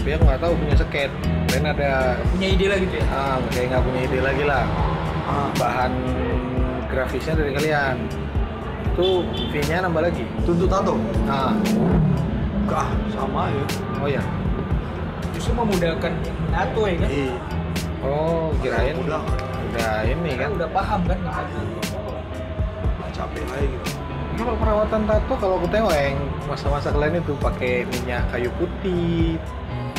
dia nggak tahu punya skate lain ada punya ide lagi gitu tuh ya ah kayak nggak punya ide lagi lah Ah, bahan grafisnya dari kalian itu fee-nya nambah lagi tuntut tato ah ah sama ya oh ya justru memudahkan NATO ya kan Iya. oh kirain udah udah ini Karena kan udah paham kan ngapain nggak capek lagi gitu kalau perawatan tato kalau aku teweng masa-masa kalian itu pakai minyak kayu putih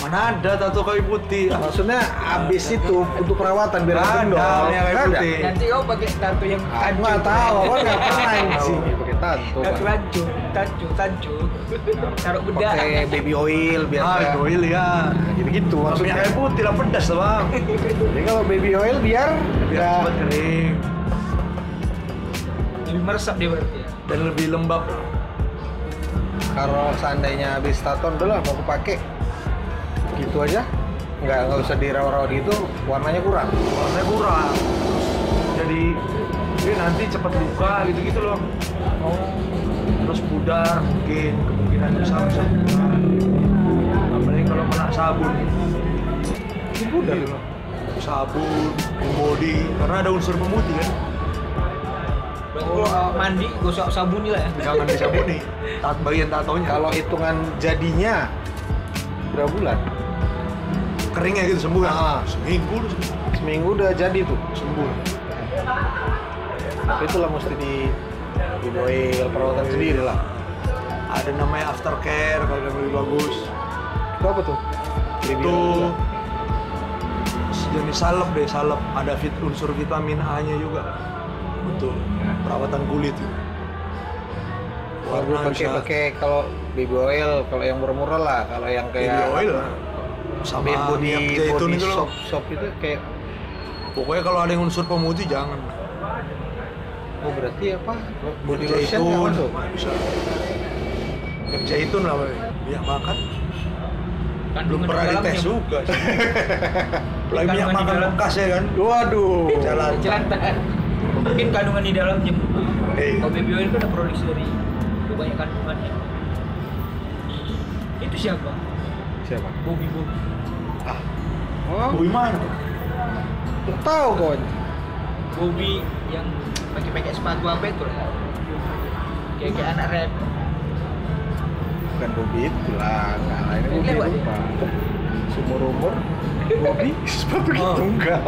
mana ada tato kayu putih Ah, maksudnya abis itu untuk perawatan biar nggak Ada, bendol. minyak kayu Nggak ada. putih. nanti kau pakai tato yang Iya. aku nggak tahu aku nggak pernah di sini pakai tato Pak. tato rancu tancu tancu Nah, taruh bedak pakai baby oil biasa ah doil ya gitu gitu maksudnya Iya. maksudnya kayu putih lah pedas lah bang jadi kalau baby oil biar biar biar cepat kering lebih meresap dia berarti ya dan lebih lembab lah. kalau seandainya habis taton udah lah mau aku pakai gitu aja nggak nggak usah dirawa-rawa gitu warnanya kurang warnanya kurang Terus jadi ini nanti cepat luka gitu-gitu loh terus pudar mungkin kemungkinan bisa bisa pudar apalagi kalau kena sabun itu udah lima sabun pembody karena ada unsur pemutih kan berarti kalau Oh. uh, mandi gosok sabun lah ya jangan disabuni tat bagian tatonya kalau kalau hitungan jadinya berapa bulan keringnya gitu sembuh kan Ah. seminggu udah sembuh seminggu udah jadi tuh sembuh tapi itulah mesti di di oil perawatan sendiri lah ada namanya aftercare kalau yang lebih bagus itu apa tuh Baby itu oil. sejenis salep deh salep ada vit, unsur vitamin A nya juga untuk perawatan kulit Kalau belum pakai pakai kalau baby oil, kalau yang murah-murah lah, kalau yang kayak kayak oil lah. sama Baby body minyak zaitun body itu loh soap soap itu kayak pokoknya kalau ada yang unsur pemutih jangan oh berarti apa body Minyak lotion nggak zaitun masuk bisa minyak zaitun lah Pak. minyak makan belum Kandungan pernah di dites dalamnya. juga sih. Apalagi Kandungan minyak di makan dalam. bekas ya kan waduh jalan Jelantan. mungkin kandungan di dalamnya Iya. kalau baby oil kan ada produksi dari banyak kandungannya itu siapa siapa Bobby Bobby oh Bui mana? nggak tahu kawan Bobby yang pakai-pakai sepatu apa itu lah kayak kayak anak rap bukan Bobby itu lah nah ini Ini Bobby lewat. lupa sumur umur Bobby sepatu Oh. gitu enggak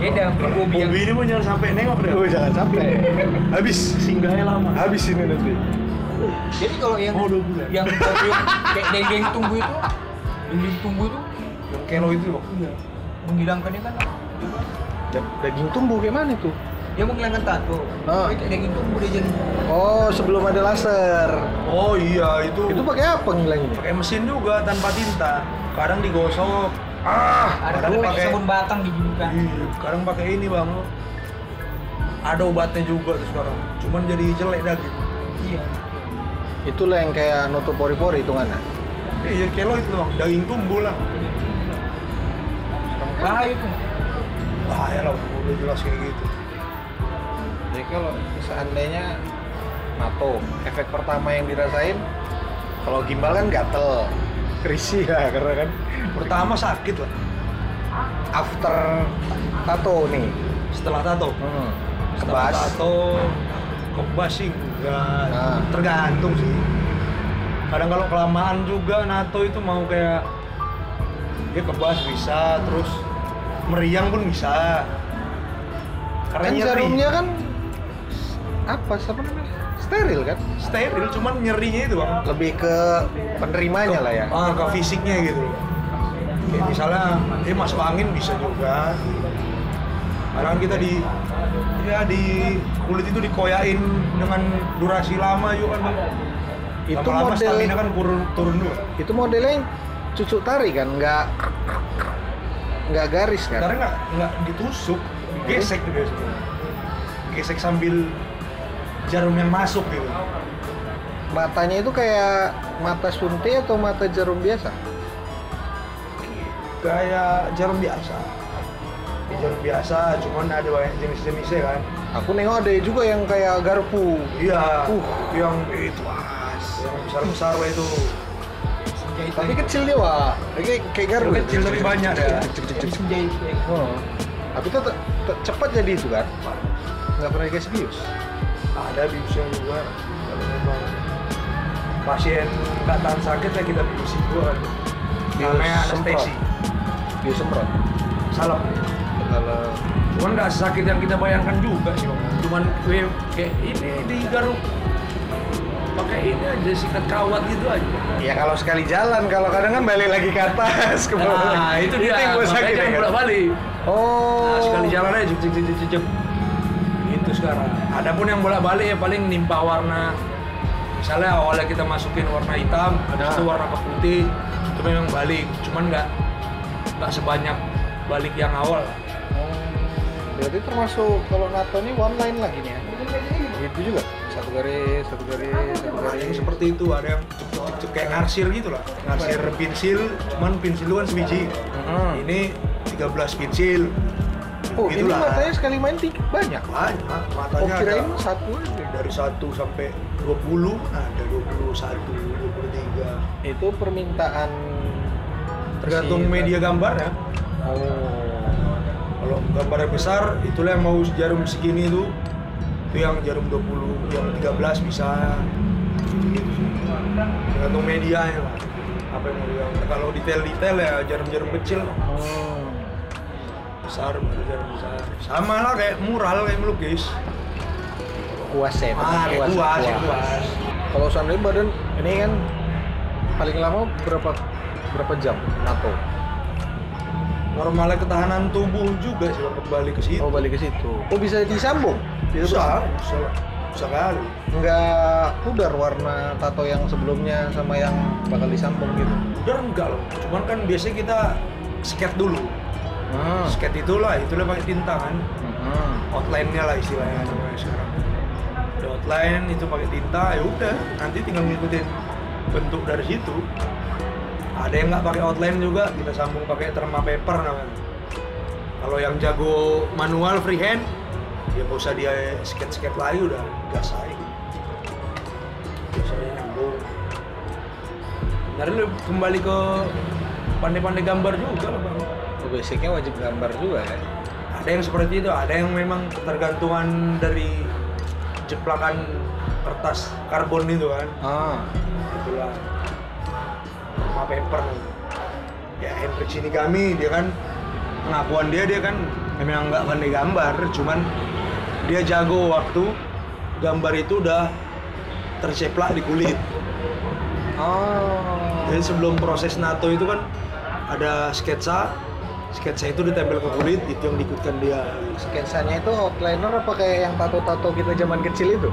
beda mungkin Bobby yang Bui ini pun jangan sampai nengok deh. oh jangan sampai habis Singgahnya lama. habis ini nanti jadi kalau yang Mau Oh, dua bulan. yang yang kayak dendeng tunggu itu dendeng tunggu itu Iya. Yang kelo itu loh. menghilangkannya kan Da- daging tumbuh gimana tuh dia menghilangkan tato Ah. Tapi kayak dendeng tunggu dia jadi oh sebelum ada laser Oh iya itu. itu pakai apa ngilanginnya pakai mesin juga tanpa tinta. Kadang digosok. Ah, ada kadang dulu pakai pakai. sabun batang diginikan Iya, kadang pakai ini bang. Ada obatnya juga tuh sekarang. Cuman jadi jelek daging. iya Itulah yang kayak nutup pori-pori hitungannya. Iya kelo itu bang. Daging tumbuh lah. bahaya itu Bahaya lah. Udah jelas kayak gitu. Jadi kalau seandainya nato, efek pertama yang dirasain kalau gimbal kan gatel, risih ya karena kan Pertama sakit lah. after tato nih. Setelah tato. Hmm. Setelah Kebas. tato kebas sih enggak Nah. tergantung sih kadang kalau kelamaan juga nato itu mau kayak dia kebas bisa terus meriang pun bisa karena Kan nyeri jarumnya kan apa siapa namanya? Steril kan? steril cuman nyerinya itu bang Lebih ke penerimanya lah ya. ah, ke fisiknya gitu loh kayak misalnya dia masuk angin bisa juga kadang kita di ya di kulit itu dikoyain dengan durasi lama juga kan bang Itu Iya. lama-lama model stamina kan turun turun dulu itu modelnya yang cucuk tari kan, nggak nggak garis kan? karena nggak nggak ditusuk Iya. gesek tuh biasanya gesek sambil jarum yang masuk gitu Matanya itu kayak mata suntik atau mata jarum biasa? kayak jarum biasa Kayak jarum biasa cuman ada banyak jenis-jenisnya kan Aku nengok ada juga yang kayak garpu. iya Uh. yang itu as yang besar besar itu Jahit Tapi kan- lagi. kecil dia wah. Ini kayak garpu. Kecil tapi banyak ya. Cuk, cuk, cuk, Jadi cuk. senjahit ya. Oh. Tapi tuh te- te- cepat jadi itu kan. Nggak pernah dikasih bius. ada biusnya juga kalau memang pasien nggak tahan sakit ya kita biusi juga kan Bius namanya semprot. anestesi Bius semprot. salep Kalau cuman nggak sakit yang kita bayangkan juga sih Bang. cuman gue kayak ini digaruk pakai ini aja sikat kawat gitu aja ya kalau sekali jalan, kalau kadang kan balik lagi ke atas ke bawah. nah itu dia yang gua makanya sakit, jangan ya kan? bolak balik Oh. nah, sekali jalan aja jep jep jep jep, jep jep itu Gitu sekarang adapun yang bolak balik ya paling nimpa warna misalnya awalnya kita masukin warna hitam habis Nah. itu warna ke putih itu memang balik cuman nggak nggak sebanyak balik yang awal Oh, Berarti termasuk kalau NATO ini one line lagi nih ya? Gitu juga? Satu garis, satu garis, satu yang garis. seperti itu ada yang cep-cep kayak ngarsir gitu lah ngarsir pensil cuman pensil itu kan sebiji Mhm. ini 13 pensil Oh, ini Gitulah. matanya sekali main tik banyak. banyak Oh, matanya kirain ada- satu aja. dari 1 sampai 20 ada 21 23 Itu permintaan tergantung si- ya. media gambarnya Oh. kalau gambarnya besar itulah yang mau jarum segini itu itu yang jarum 20 yang 13 bisa gitu-gitu sih. tergantung medianya lah apa yang mau digambar kalau detail-detail ya jarum-jarum kecil Oh. besar baru jarum besar sama lah kayak mural kayak melukis Kuas ya, ah Pak? kayak kuas kayak kuas Kalau seandainya badan ini kan paling lama berapa berapa jam NATO? normalnya ketahanan tubuh juga sih kalau kembali ke situ Oh balik ke situ. Oh bisa disambung? bisa bisa bisa kali nggak pudar warna tato yang sebelumnya sama yang bakal disambung gitu. udah enggak loh cuman kan biasanya kita skate dulu Hmm. skate itulah itulah pakai tinta kan Ah. outline-nya lah istilahnya namanya sekarang Ada outline itu pakai tinta ya udah nanti tinggal ngikutin bentuk dari situ ada yang nggak pakai outline juga kita sambung pakai terma paper namanya kalau yang jago manual freehand ya nggak usah dia skate skate lagi udah gas aja biasanya nyambung Ntar lu kembali ke pandai-pandai gambar juga lah bang Oh, basicnya wajib gambar juga ya. ada yang seperti itu ada yang memang tergantungan dari jeplakan kertas karbon itu kan Ah. itulah sama paper ya Hendrik ini kami dia kan pengakuan dia dia kan memang nggak pandai gambar cuman dia jago waktu gambar itu udah terceplak di kulit Oh. jadi sebelum proses nato itu kan ada sketsa sketsa itu ditempel ke kulit itu yang diikutkan dia Sketsanya itu outliner apa kayak yang tato-tato kita zaman kecil itu?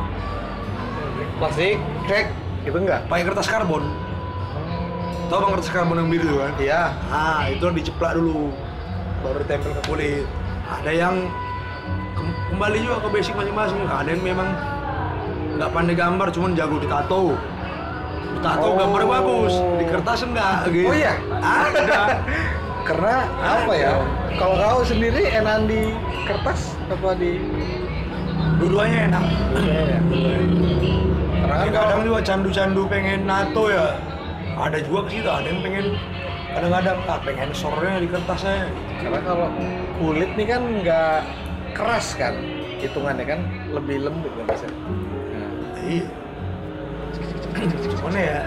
Plastik. Crack gitu enggak? pakai kertas karbon Tahu bang kertas karbon yang biru kan? Iya. Ah, itu diceplak dulu, baru ditempel ke kulit. Ada yang kem- kembali juga ke basic masing-masing. Ada yang memang nggak pandai gambar, cuman jago ditato. Ditato Oh. gambar bagus, di kertas enggak gitu. Oh iya? Ada. Karena apa ya? Kalau kau sendiri enakan di kertas apa di Dua-duanya enak. Iya. Iya. Karena kan Ya, kalau kadang juga candu-candu pengen nato ya. Ada juga ke situ, ada yang pengen kadang-kadang ah, pengen sorenya di kertasnya. Karena kalau kulit nih kan nggak keras kan, hitungannya kan lebih lembut kan biasanya. Iya. Mana ya?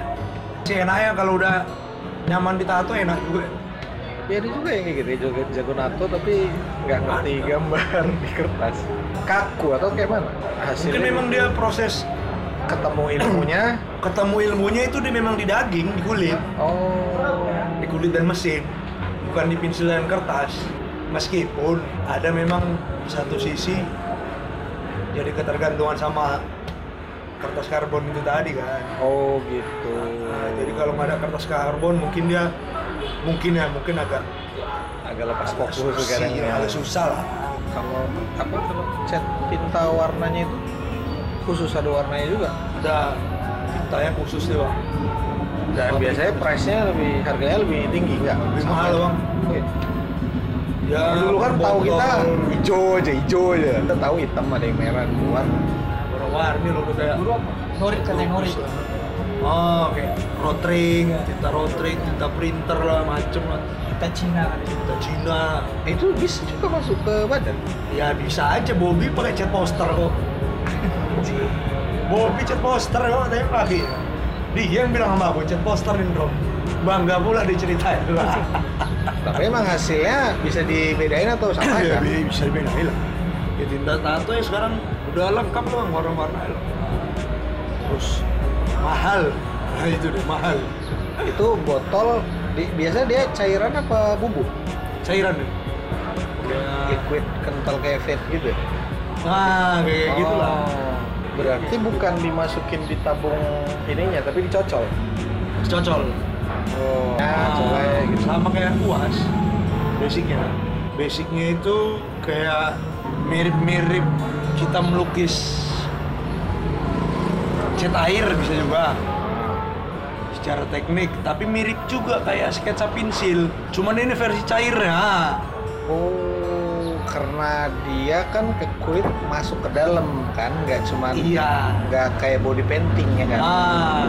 Si enaknya kalau udah nyaman ditato enak juga. Ya ada juga yang kayak gitu, ya, jago, jago nato tapi nggak ngerti Ada. gambar di kertas. Kaku atau kayak mana? Hasilnya Mungkin memang dia proses ketemu ilmunya. ketemu ilmunya itu dia memang di daging, di kulit, Oh. di kulit dan mesin, bukan di pensil dan kertas. Meskipun ada memang di satu sisi jadi ketergantungan sama kertas karbon itu tadi kan. Oh gitu. Nah, jadi kalau nggak ada kertas karbon mungkin dia mungkin ya mungkin agak agak lepas fokus susah, sekarang ya. agak susah lah. Kalau apa kalau cat tinta warnanya itu khusus ada warnanya juga. ada tanya khusus deh bang Dan biasanya price-nya lebih harganya lebih tinggi nggak? Lebih mahal, Bang. Oke. ya dulu kan tahu kita botol hijau aja hijau aja kita tahu hitam ada yang merah keluar warna warni loh udah kayak Norit katanya norit. ya. oh kayak rotring tinta rotring tinta printer lah macem lah tinta Cina tinta Cina itu bis juga masuk ke badan ya bisa aja Bobby pakai cat poster kok Bobby cat poster kok tapi pakai dia yang bilang sama aku cat poster ini bro bangga pula diceritain lah tapi emang hasilnya bisa dibedain atau sama ya, kan bisa dibedain lah ya tinta tato ya sekarang udah lengkap loh warna-warna lah terus mahal nah itu deh mahal itu botol di, biasa dia cairan apa bubuk cairan ya? deh udah liquid kental kayak vape gitu ya? nah kayak Oh, gitu lah berarti bukan dimasukin di tabung ininya tapi dicocol cocol oh ya Nah, coba ya gitu sama kayak uas basicnya basicnya itu kayak mirip-mirip kita melukis cat air bisa juga secara teknik tapi mirip juga kayak sketsa pensil cuman ini versi cairnya oh karena dia kan ke kulit masuk ke dalam kan nggak cuman iya nggak kayak body painting ya kan Ah,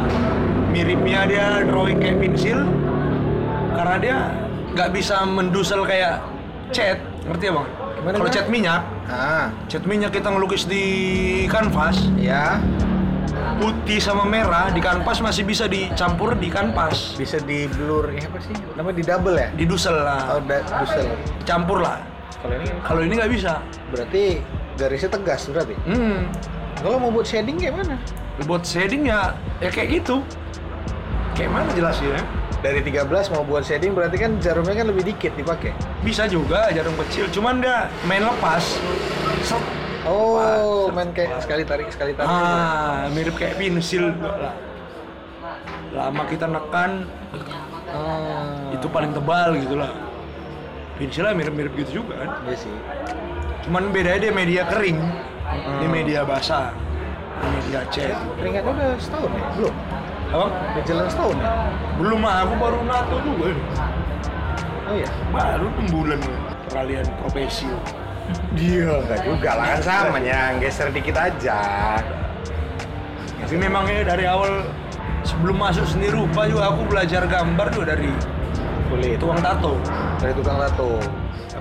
miripnya dia drawing kayak pensil karena dia nggak bisa mendusel kayak cat, ngerti ya bang? Gimana, Kalau gimana? cat minyak, ah cat minyak kita ngelukis di kanvas ya putih sama merah di kanvas masih bisa dicampur di kanvas, bisa di blur ya apa sih namanya di double ya didusel oh lah, da- dusel campur lah. kalau ini Kalau ini nggak bisa, berarti garisnya tegas berarti hmm, kalau mau buat shading kayak mana buat shading ya, ya kayak gitu. Kayak mana jelasinnya? dari 13 mau buat shading berarti kan jarumnya kan lebih dikit dipakai Bisa juga jarum kecil, cuman dia main lepas. Set, oh Wah, main kayak wah. sekali tarik sekali tarik Ah, mirip kayak pensil juga lah. Lama kita nekan, Ah, itu paling tebal gitu lah. Pensilnya mirip-mirip gitu juga kan. iya sih Cuman bedanya dia media kering, ini media basah, ini media cat. keringatnya udah setahun ya belum Abang, udah jalan setahun ya belum mah aku baru nato juga ini. oh iya Baru 6 bulan ini. peralihan profesi. dia enggak Iya, juga lah kan samanya geser dikit aja Tapi memangnya dari awal sebelum masuk seni rupa juga aku belajar gambar tuh dari kulit tukang tato. dari tukang tato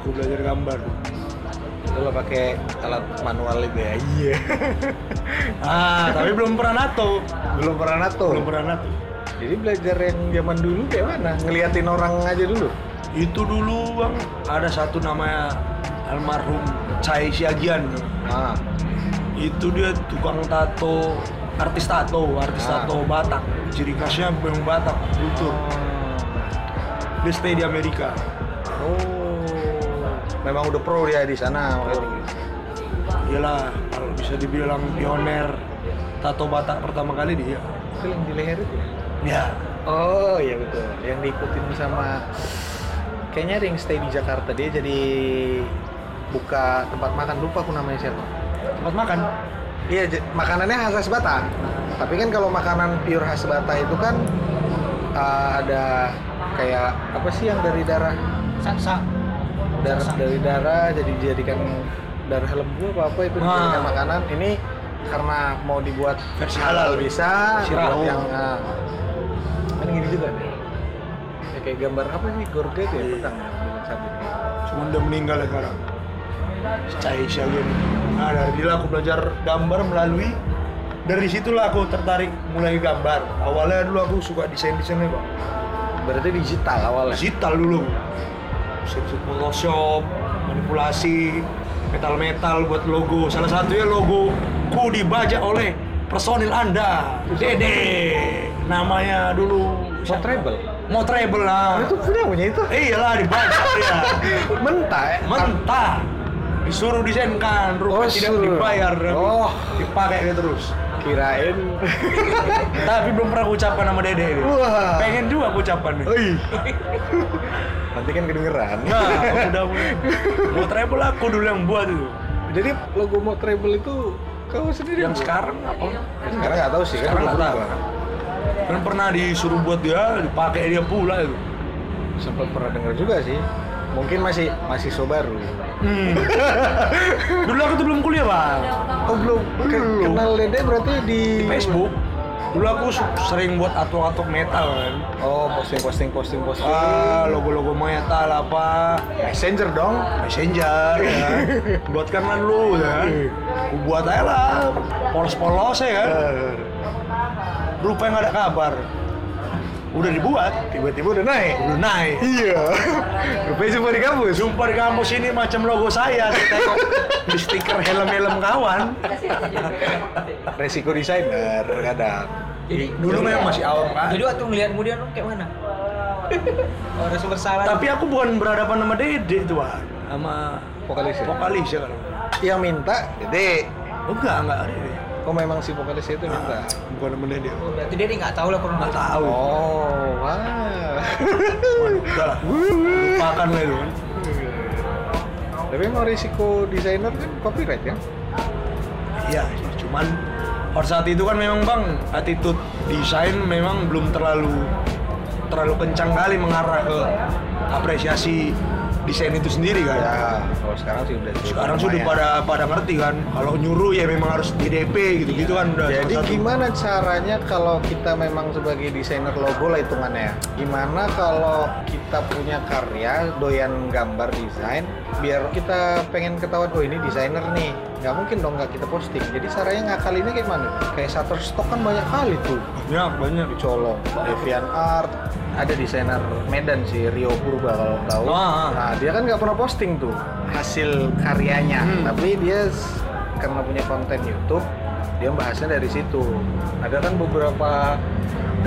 Aku belajar gambar. itu lo pakai alat manual itu ya iya Ah, tapi belum pernah nato. belum pernah nato Belum pernah nato. jadi belajar yang zaman dulu kayak mana ngeliatin orang aja dulu Itu dulu bang ada satu namanya almarhum Chai Siagian. ah Itu dia tukang tato, artis tato, artis Ah. tato Batak. Ciri khasnya memang Batak, kultur. Ah. Dia stay di Amerika. oh memang udah pro dia di sana Iyalah kalau bisa dibilang pioner tato Batak pertama kali dia. itu yang di leher itu ya? Ya, oh iya betul yang diikutin sama kayaknya ada yang stay di Jakarta dia jadi buka tempat makan lupa aku namanya siapa tempat makan. Iya, j- makanannya khas khas Batak. Tapi kan kalau makanan pure khas Batak itu kan uh, ada kayak apa sih yang dari darah Saksa. darah dari darah jadi dijadikan darah lembu apa apa itu Nah. dijadikan makanan. Ini karena mau dibuat Versi halal. bisa, Versi buat halal. yang uh, kan gini juga deh. Ya, kayak gambar apa sih gorge itu ya pedang ya, dengan sabit. Cuman dia meninggal ya sekarang. Chai Siagian. Nah, dari dia aku belajar gambar melalui dari situlah aku tertarik mulai gambar. Awalnya dulu aku suka desain-desainnya, Bang. Berarti digital awalnya. Digital dulu. Desain Photoshop, manipulasi, metal-metal buat logo. Salah satunya logo ku dibaca oleh personil Anda, Dede. Namanya dulu Mau treble? Mau treble Oh, lah. Itu punya punya itu. Iyalah dibaca dia. Mentah. ya? mentah disuruh desainkan Oh, rupa tidak suruh. dibayar tapi Oh. dipakai dia terus Kirain. tapi belum pernah ucapan sama dede ini. Wah. Oh, pengen juga aku ucapan nih Oi. Nanti kan kedengeran. nah udah udah mau treble aku dulu yang buat itu Jadi logo mau treble itu kau sendiri yang sekarang apa Sekarang nggak tahu sih kan Sekarang udah nggak berubah. kan pernah disuruh buat dia dipakai dia pula itu Sempat pernah dengar juga sih. Mungkin masih masih baru. hmm. dulu aku tuh belum kuliah bang Oh belum. Ke- Belum. Kenal Dede berarti di, di Facebook dulu aku su- sering buat artwork-artwork metal kan Oh, posting, posting, posting, posting. ah logo-logo metal apa Messenger dong. messenger ya buat kan lah lu ya Iya. Aku buat aja lah polos-polos ya kan Iya. rupanya nggak ada kabar udah dibuat Tiba-tiba udah naik. udah naik Iya. Rupanya cuma di kampus. Jumpa di kampus ini macam logo saya, saya tengok di stiker helm-helm kawan. Resiko desainer kadang. Jadi Dulu memang masih awam kan. Jadi waktu ngeliat kemudian lu kayak mana? Oh, Rasa bersalah. Tapi aku bukan berhadapan sama Dede tuh, Wan. sama Vokalis ya? vokalis ya kan. Yang minta, Dede. Enggak, enggak Dede. Oh memang si vokalis itu minta. Bukan sama Dede. Oh, Berarti dia nggak tahu lah Enggak kronologi. tahu. Oh, wah. Udah lah. Lupakan lah itu kan. Tapi emang risiko desainer kan copyright ya? Iya, cuman pada saat itu kan memang Bang, attitude desain memang belum terlalu terlalu kencang kali mengarah ke apresiasi desain itu sendiri kan. Ya, kalau sekarang sih udah sekarang sudah lumayan. pada pada ngerti kan kalau nyuruh ya memang harus DDP gitu gitu kan udah Jadi satu-satu. gimana caranya kalau kita memang sebagai desainer logo lah hitungannya? Gimana kalau kita punya karya doyan gambar desain, biar kita pengen ketahuan oh ini desainer nih. Nggak mungkin dong nggak kita posting. Jadi caranya ngakalinnya kayak mana? Kayak Shutterstock kan banyak kali tuh banyak banyak dicolong. Deviant Art ada desainer Medan sih Rio Purba kalau tahu. Ah, ah. Nah dia kan nggak pernah posting tuh hasil karyanya, Hmm. tapi dia s- karena punya konten YouTube dia bahasnya dari situ. Ada kan beberapa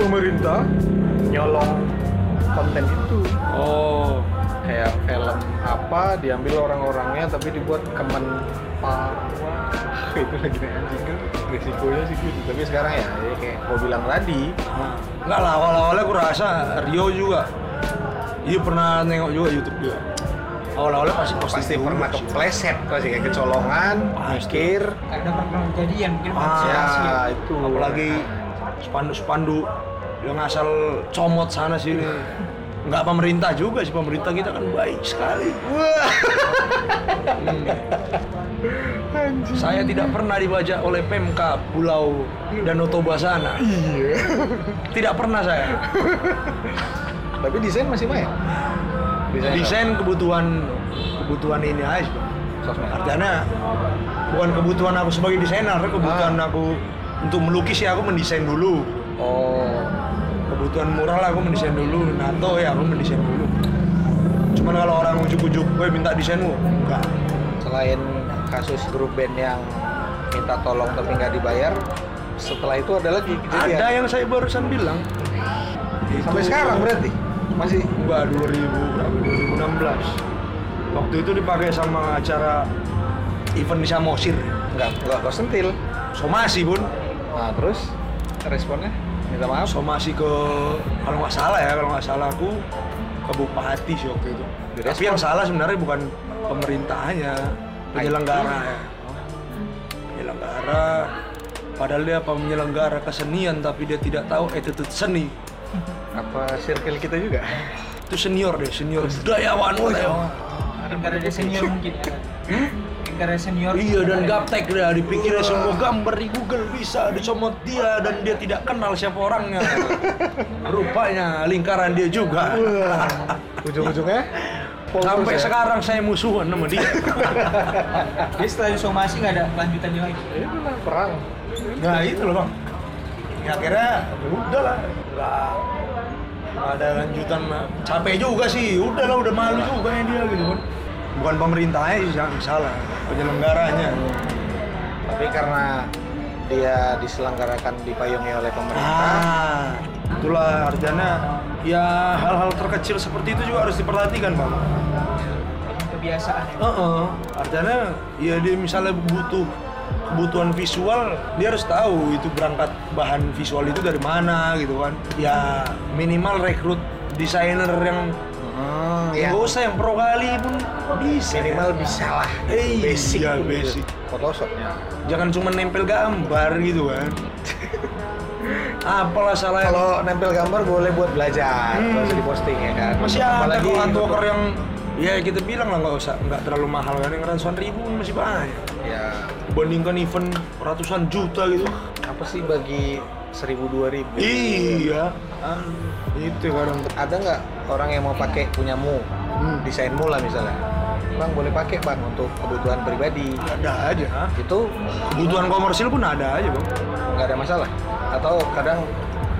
pemerintah nyolong konten itu oh kayak film apa diambil orang-orangnya tapi dibuat kemen parwa itu lagi naik anjing kan risikonya sih gitu tapi sekarang ya, ya kayak gue bilang tadi nggak lah awal awalnya aku rasa Rio juga iya pernah nengok juga YouTube dia awal awalnya pasti posting pasti dulu pernah sih. kepleset pasti kayak kecolongan Pasti. mikir Karena pernah kejadian mungkin Ah, manusia ya asli. itu apalagi spanduk spanduk yang asal comot sana sini nggak pemerintah juga sih pemerintah kita kan baik sekali Hmm. saya tidak pernah dibajak oleh Pemka Pulau dan Toba sana tidak pernah saya tapi desain masih main desain, desain kebutuhan kebutuhan ini aja sih, Bang. sosmed artinya bukan kebutuhan aku sebagai desainer kebutuhan aku untuk melukis ya aku mendesain dulu oh kebutuhan murah lah aku mendesain dulu nato ya aku mendesain dulu cuman kalau orang ujuk-ujuk gue minta desainmu enggak selain kasus grup band yang minta tolong tapi nggak dibayar setelah itu ada lagi kejadian ada yang saya barusan bilang ya. itu- sampai sekarang berarti masih enggak 2000 berapa 2016 waktu itu dipakai sama acara event di Samosir nggak nggak kau sentil somasi bun nah terus responnya minta maaf somasi ke kalau nggak salah ya kalau nggak salah aku ke Bupati sih waktu itu Direspon. tapi yang salah sebenarnya bukan pemerintahnya penyelenggara ya penyelenggara padahal dia apa penyelenggara kesenian tapi dia tidak tahu attitude seni apa circle kita juga itu senior deh senior budayawan budayawan. Mungkin karena dia senior mungkin ya. Mungkin karena senior. Hmm? iya dan gaptek dia dipikirnya semua gambar di Google bisa dicomot dia dan dia tidak kenal siapa orangnya rupanya lingkaran dia juga ujung-ujungnya polres Sampai Iya. ya. sekarang saya musuhan sama dia. Jadi setelah disomasi nggak ada lanjutannya lagi. Itulah Iya, perang nah itu loh bang. Ya akhirnya ya udah lah, nggak nggak ada lanjutan. lah. Capek juga sih, udah lah udah malu juga ya dia gitu kan. Bukan pemerintahnya sih yang salah, penyelenggaranya. tapi karena dia diselenggarakan dipayungi oleh pemerintah Ah, itulah artinya ya hal-hal terkecil seperti itu juga harus diperhatikan bang. Kebiasaan. ya. Heeh, artinya ya dia misalnya butuh kebutuhan visual, dia harus tahu itu berangkat bahan visual itu dari mana gitu kan. Ya minimal rekrut desainer yang hmm, ya nggak usah yang pro kali pun bisa. ya. minimal bisa lah gitu. Eh, basic Ah. iya, basic. photoshopnya Jangan cuma nempel gambar gitu kan. Apalah salahnya kalau nempel gambar boleh buat belajar Hmm. nggak usah diposting ya kan masih ada Apalagi kok untuk- artworker yang ya kita bilang lah nggak usah nggak terlalu mahal kan yang ratusan ribu masih banyak ya dibandingkan event ratusan juta gitu apa sih bagi seribu dua ribu Iya. Ah, Itu kadang. ada nggak orang yang mau pakai punyamu Hmm. desainmu lah misalnya bang boleh pakai bang untuk kebutuhan pribadi Ada aja. itu Kebutuhan komersil pun ada aja bang. nggak ada masalah atau kadang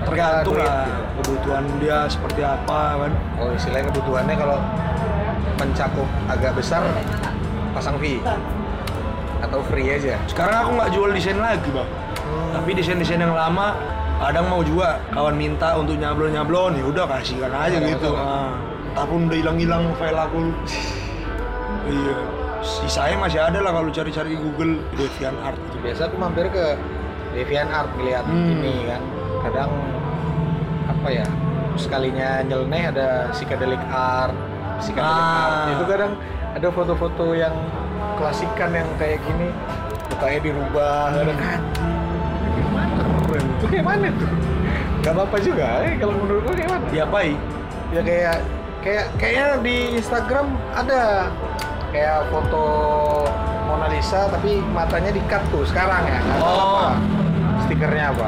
Tergantung duit, lah gitu. kebutuhan dia seperti apa kan. oh istilahnya kebutuhannya kalau mencakup agak besar pasang fee atau free aja Sekarang aku nggak jual desain lagi bang. Tapi desain-desain yang lama kadang mau juga kawan minta untuk nyablon-nyablon ya udah kasihkan aja Ada gitu. masalah. Nah, entah pun udah hilang-hilang file aku. iya. Sisanya masih ada lah kalau cari-cari di Google Devian Art gitu. biasa aku mampir ke DeviantArt ngeliat Hmm. ini kan kadang apa ya sekalinya nyeleneh ada psychedelic art psychedelic Ah. art itu kadang ada foto-foto yang klasikan yang kayak gini mukanya dirubah Hmm. kadang "Ah, Keren. itu kayak mana tuh gak apa-apa juga eh, kalau menurutku kayak mana Diapain? ya kayak kayak kayaknya di Instagram ada kayak foto Mona Lisa tapi matanya di cut tuh sekarang ya nggak tahu Oh. apa stikernya apa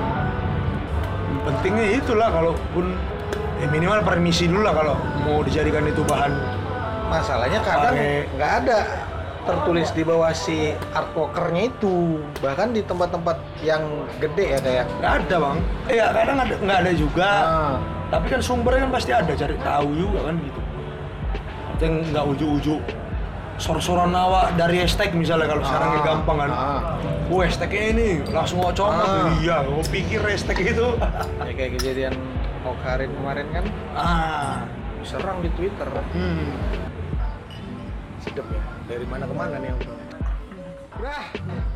pentingnya itulah kalaupun ya minimal permisi dulu lah kalau mau dijadikan itu bahan masalahnya kadang Pakai- nggak ada tertulis di bawah si art walkernya itu bahkan di tempat-tempat yang gede ya kayak nggak ada bang eh ya, kadang ada nggak ada juga Ah. tapi kan sumbernya kan pasti ada cari tahu juga kan gitu yang nggak ujuk-ujuk sor-soran awak dari hashtag misalnya kalau sekarang Ah. kan gampang kan Ah. Wah, hashtagnya ini langsung mau comot. Ah. Iya, mau pikir hashtag itu. ya kayak kejadian Okarin kemarin kan ah, diserang di Twitter hmm. sedep ya dari mana kemana nih Nah,